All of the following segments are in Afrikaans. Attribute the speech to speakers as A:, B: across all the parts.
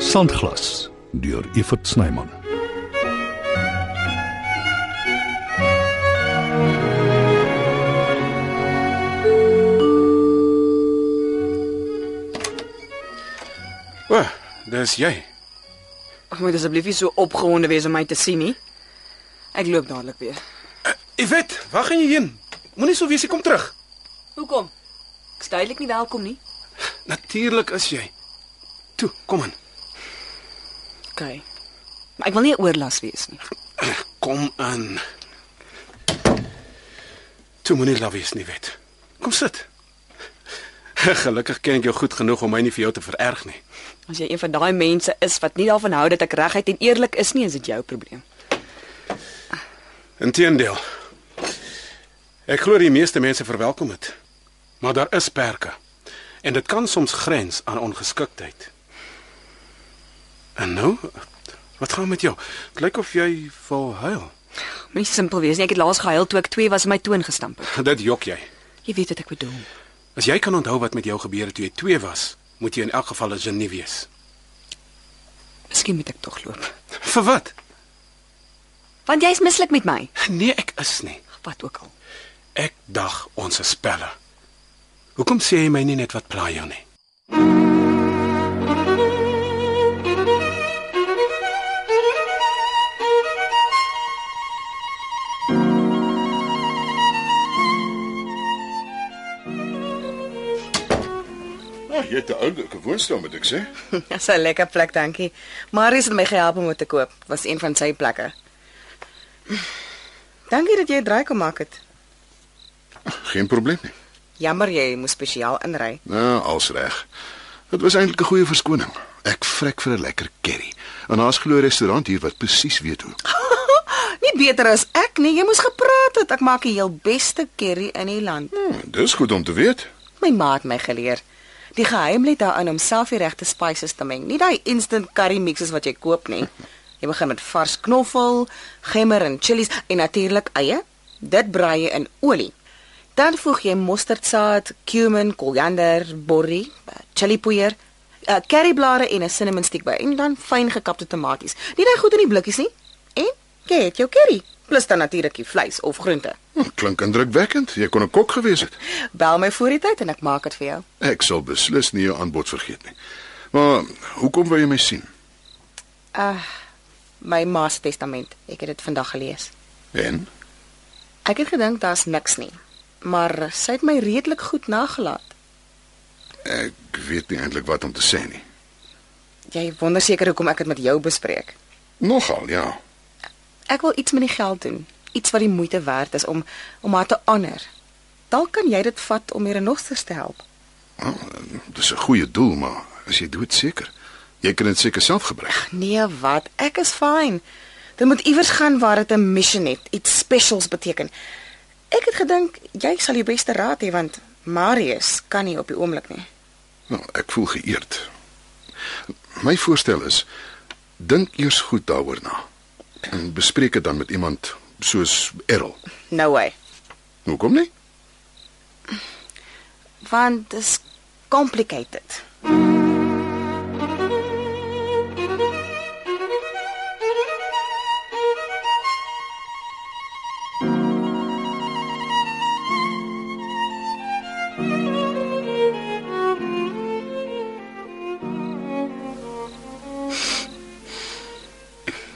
A: Sandglas deur Evert Snyman.
B: O, dis jy.
C: Ag moet asseblief nie so opgewonde wees om my te sien nie. Ek loop dadelik weer.
B: Ivet, waar gaan jy heen? Moenie so wees, jy kom terug.
C: Hoekom? Ek's duidelik nie welkom nie.
B: Natuurlik is jy. Toe, kom in.
C: OK. Maar ek wil nie 'n oorlas wees nie.
B: Kom in. Toe moenie laf wees nie, Wet. Kom sit. Gelukkig ken ek jou goed genoeg om my nie vir jou te vererg nie.
C: As jy een van daai mense is wat nie daarvan hou dat ek reguit en eerlik is nie, is dit jou probleem.
B: Inteendeel. Ek glo die meeste mense verwelkom dit. Maar daar is perke. En dit kan soms grens aan ongeskiktheid. En nou, wat gaan met jou? Dit lyk of jy vol huil.
C: Moenie simpel wees nie. Ek het laas gehuil toe ek 2 was en my toon gestamp het.
B: Dit jok jy.
C: Jy weet wat ek bedoel.
B: As jy kan onthou wat met jou gebeur het toe jy 2 was, moet jy in elk geval 'n genie wees.
C: Miskien moet ek tog loop.
B: Vir wat?
C: Want jy's mislik met my.
B: Nee, ek is nie.
C: Wat ook al.
B: Ek dag ons is pelle. Hoekom sê jy my nie net wat pla jou nie?
D: Ja, jy het 'n oulike woonstel moet ek sê.
C: Dis 'n lekker plek, dankie. Marius het my gehelp om dit te koop. Was een van sy plekke. Dankie dat jy draai kom maak het.
D: Geen probleem nie.
C: Jammer jy moes spesiaal inry.
D: Nou, als reg. Dit was eintlik 'n goeie verskoning. Ek vrek vir 'n lekker curry. En daar's glo 'n restaurant hier wat presies weet hoe.
E: Nie beter as ek nie. Jy moes gepraat het. Ek maak die heel beste curry in die land.
D: Hm, dis goed om te weet.
E: My ma het my geleer. Die geheim lê daarin om self die regte spices te meng. Nie daai instant curry mixes wat jy koop nie. Jy begin met vars knoffel, gemmer en chillies en natuurlik eie. Dit braai jy in olie. Dan voeg jy mosterdsaad, cumin, koriander, borrie, chilipoeier, uh, curryblare en 'n cinnamon stick by en dan fyn gekapte tomaties. Nie daai goed in die blikkies nie. En jy het jou curry, plus dan natuurlik die vleis of groente.
D: Hm, klink indrukwekkend. Jy kon 'n kok gewees het.
E: Bel my voor die tyd en ek maak dit vir jou.
D: Ek sal beslis nie jou aanbod vergeet nie. Maar hoekom wou jy my sien?
E: Uh my ma se testament. Ek het dit vandag gelees.
D: En
E: Ek het gedink daar's niks nie, maar sy het my redelik goed nagelaat.
D: ek weet nie eintlik wat om te sê nie.
E: Jy wonder seker hoekom ek dit met jou bespreek.
D: Nogal, ja.
E: Ek wil iets met die geld doen, iets wat die moeite werd is om om haar te honor. Dalk kan jy dit vat om hier renosters te help.
D: Oh, dis 'n goeie doel, maar as jy doodseker. Jy kan dit seker self gebruik.
E: Nee, wat? Ek is fyn. Dit moet iewers gaan waar dit 'n mission het, iets specials beteken. Ek het gedink jy sal die beste raad hê want Marius kan nie op die oomblik nie.
D: Nou, ek voel geëerd. My voorstel is dink eers goed daaroor na en bespreek dit dan met iemand soos Errol.
E: No way.
D: Hoekom nie?
E: want dit is complicated.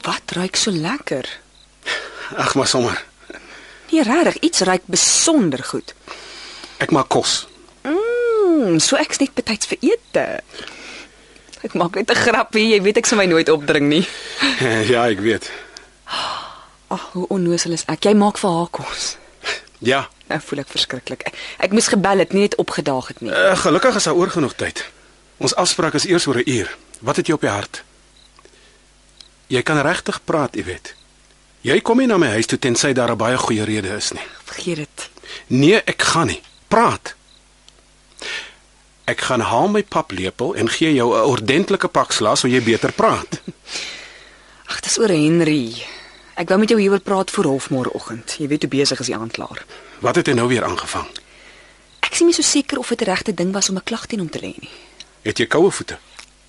C: Wat ruik so lekker?
B: Ag, maar sommer.
C: Nee, regtig, iets ruik besonder goed.
B: Ek maak kos.
C: Mm, so ek's net betyds vir ete. Ek maak net 'n grappie, jy weet ek sal my nooit opdring nie.
B: ja, ek weet.
C: Ag, hoe onnoosel is ek. Jy maak vir haar kos.
B: Ja.
C: Nou voel ek verskriklik. Ek, ek moes gebel het, nie net opgedaag het nie.
B: Uh, gelukkig is daar oor genoeg tyd. Ons afspraak is eers oor 'n uur. Wat het jy op jou hart? Jy kan regtig praat, Iwet. Jy kom nie na my huis toe tensy daar 'n baie goeie rede is nie.
C: Vergeet dit.
B: Nee, ek gaan nie. Praat. Ek gaan haal my paplepel en gee jou 'n ordentlike pak slaas sodat jy beter praat.
C: Ag, dis oor Henry. Ek wou met jou hieroor praat voor hof môreoggend. Jy weet hoe besig is die aanklaer.
B: Wat het hy nou weer aangevang?
C: Ek is nie so seker of dit die regte ding was om 'n klag teen hom te lê nie.
B: Het jy koue voete?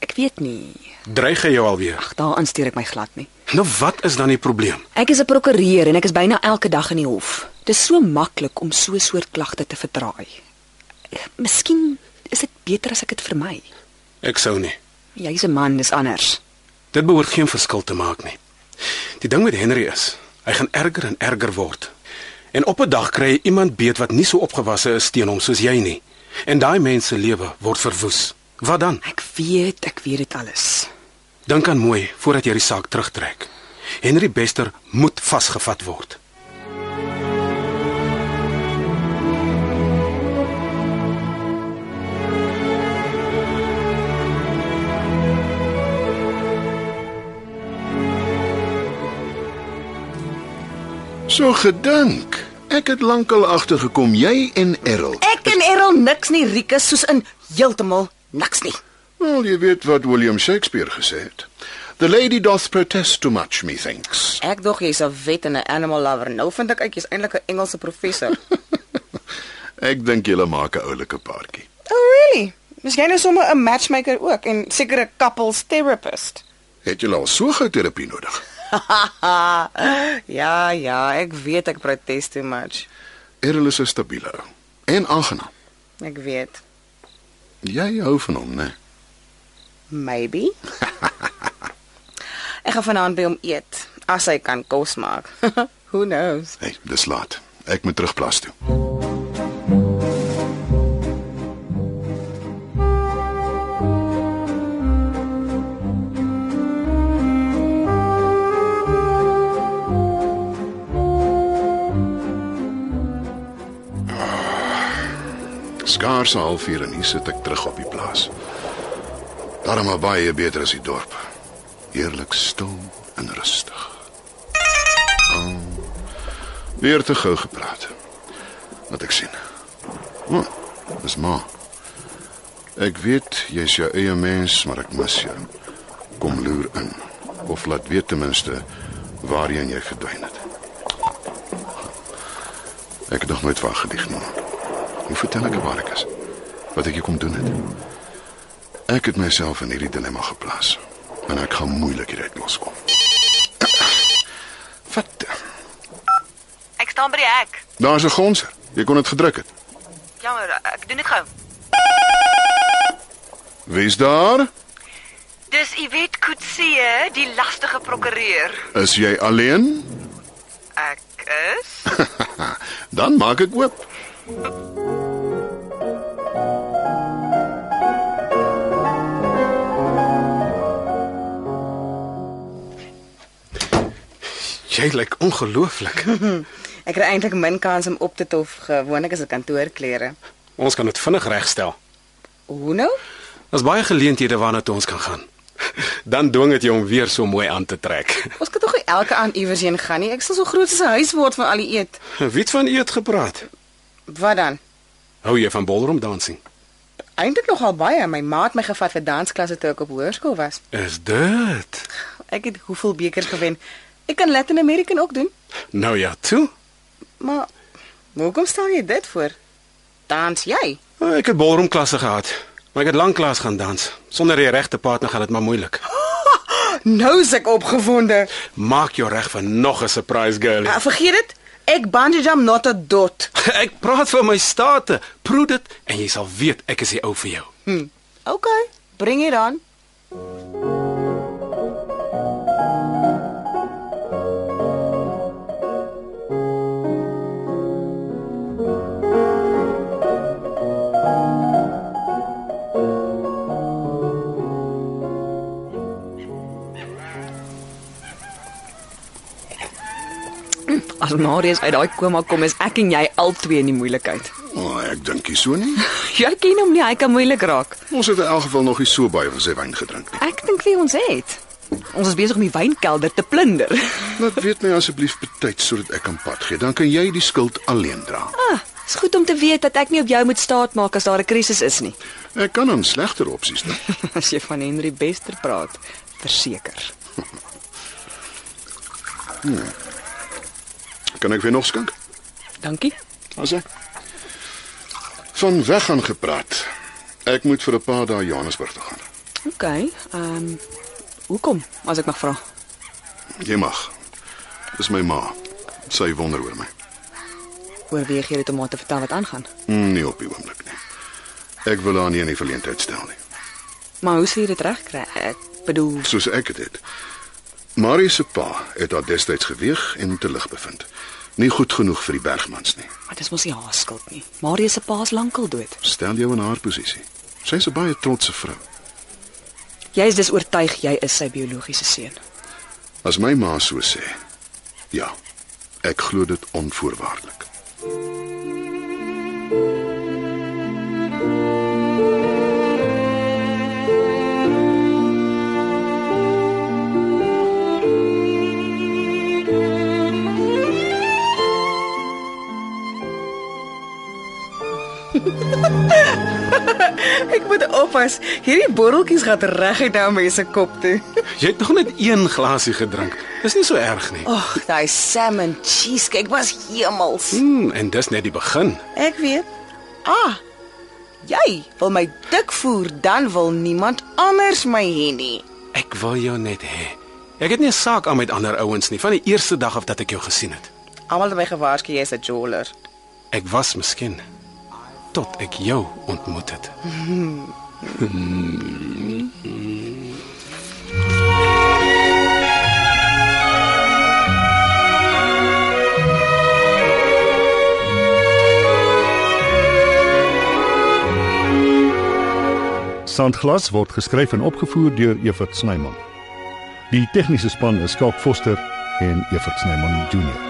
C: Ek weet nie.
B: Dreig hy jou alweer?
C: Ag, daaraan steur ek my glad nie.
B: Nou wat is dan die probleem?
C: Ek is 'n prokureur en ek is byna elke dag in die hof. Dis so maklik om so 'n soort klagte te verdraai. Miskien is dit beter as ek dit vermy.
B: Ek sou nie.
C: Jy's 'n man, dis anders.
B: Dit behoort geen verskil te maak nie. Die ding met Henry is, hy gaan erger en erger word. En op 'n dag kry hy iemand beet wat nie so opgewasse is teen hom soos jy nie. En daai mens se lewe word verwoes. Wat dan?
C: Ek weet, ek weet dit alles.
B: Dink aan mooi voordat jy die saak terugtrek. Henry Bester moet vasgevat word.
D: So gedink. Ek het lankal agtergekom jy en Errol.
E: Ek en Errol niks nie, Rikus, soos in heeltemal niks nie.
D: Wel, jy weet wat William Shakespeare gesê het. The lady doth protest too much, methinks.
E: Ek dog jy's 'n vet en 'n animal lover. Nou vind ek uit jy's eintlik 'n Engelse professor.
D: Ek dink julle maak 'n oulike paartjie.
E: oh really? Is jy nou sommer 'n matchmaker ook en seker 'n couples therapist?
D: Het julle al so gou terapie nodig?
E: ja, ja, ek weet ek protest too much.
D: Errol is 'n stabiele ou en aangenaam.
E: Ek weet.
D: Jy hou van hom, né?
E: Maybe. ek gaan vanaand by hom eet as hy kan kos maak. Who knows?
D: Hey, dis laat. Ek moet terug plaas toe. Skaars 'n halfuur en hier sit ek terug op die plaas. Daarom maar baie beter as die dorp. Heerlik stil en rustig. Weer te gou gepraat. Wat ek sien. O, oh, dis ma. Ek weet jy's jou eie mens, maar ek mis jou. Kom loer in of laat weet ten minste waarheen jy verdwyn het. Ek het nog nooit van gedig nie. Hoe vertel ek waar ek is? Wat ek hier kom doen het? Ek het myself in hierdie dilemma geplaas en ek gaan moeilik hieruit loskom. Wat?
C: Ek staan by die hek.
D: Daar's 'n gonser. Jy kon dit gedruk het.
C: Jammer, ek doen dit gou.
D: Wie's daar?
C: Dis Iwet Kutse, die lastige prokureur.
D: Is jy alleen?
C: Ek is
D: Dan maak ek oop.
B: Jy lyk ongelooflik.
E: Ek kry eintlik min kans om op te tof. Gewoonlik is dit kantoorklere.
B: Ons kan dit vinnig regstel.
E: Hoe nou?
B: Daar's baie geleenthede waarna toe ons kan gaan. Dan dwing dit jou om weer so mooi aan te trek.
E: Ons kan tog nie elke aand iewers heen gaan nie. Ek sal so groot as 'n huis word van al die eet.
B: Wie het van u het gepraat?
E: Wat dan?
B: Hou jy van ballroom dancing?
E: Eintlik nogal baie. My ma het my gevat vir dansklasse toe ek op hoërskool was.
B: Is dit?
E: Ek het hoeveel bekers gewen. Ek kan Latin American ook doen,
B: Nou ja, toe.
E: maar hoekom stel jy dit voor? Dans jy?
B: Ah, Ek het ballroomklasse gehad, maar ek het lank klas gaan dans. Sonder die regte partner gaan dit maar moeilik.
E: Nou is ek opgewonde.
B: Maak jou reg vir nog 'n surprise girlie.
E: Uh, vergeet dit. Ek bungee jump not a dot.
B: Ek praat vir my state. Proe dit en jy sal weet ek is die ou vir jou.
E: Okay, bring dit aan.
C: Hm, As Marius uit daai koma kom, is ek en jy albei in die moeilikheid.
D: O, oh, ek dink nie so nie.
C: Jy ken hom nie, hy kan moeilik raak.
D: Ons het in elk geval nog nie so baie van sy wyn gedrink nie.
C: Ek dink wie ons het. Ons is besig om die wynkelder te plunder.
D: Laat weet my asseblief betyds sodat ek kan pad gee. Dan kan jy die skuld alleen dra.
C: Ah, is goed om te weet dat ek nie op jou moet staatmaak as daar 'n krisis is nie.
D: Ek kan aan slegter opsies dink.
C: As jy van Henry Bester praat, verseker.
D: Kan ek weer nog skink?
C: Dankie.
D: As ek van weg gaan gepraat. Ek moet vir 'n paar dae Johannesburg toe gaan.
C: OK. Ehm um, hoekom as ek mag vra?
D: Jy mag. Dis my ma. Sy wonder oor my.
C: Oorweeg jy dit om haar te vertel wat aangaan?
D: Nee op die oomblik nie. Ek wil haar nie in die verleentheid stel nie.
C: Maar hoe sou jy dit regkry? Ek bedoel,
D: Soos ek dit het. Marie se pa het haar destyds geweeg en te lig bevind. Nie goed genoeg vir die bergmans nie.
C: maar dis mos nie haar skuld nie. Marius se pa is lankal dood.
D: Stel jou in haar posisie. Sy's 'n baie trotse vrou.
C: Jy is dus oortuig jy is sy biologiese seun.
D: As my ma so sê. Ja. Ek glo dit onvoorwaardelik.
E: Ek moet oppas. Hierdie borreltjies gaan reguit na mense kop toe.
B: Jy het nog net een glasie gedrink. Dis nie so erg nie.
E: Ag, daai salmon cheesecake was hemels.
B: Mm, en dis net die begin.
E: Ek weet. Ah. Jy wil my dik voer, dan wil niemand anders my hê nie.
B: Ek wil jou net hê. Ek het nie 'n saak aan met ander ouens nie van die eerste dag af dat ek jou gesien het.
E: Almal het my gewaarsku jy's 'n joler.
B: Ek was miskien tot ek jou ontmoet het.
A: Sandglas word geskryf en opgevoer deur Evert Snyman. Die tegniese span is Skalk Foster en Evert Snyman Junior.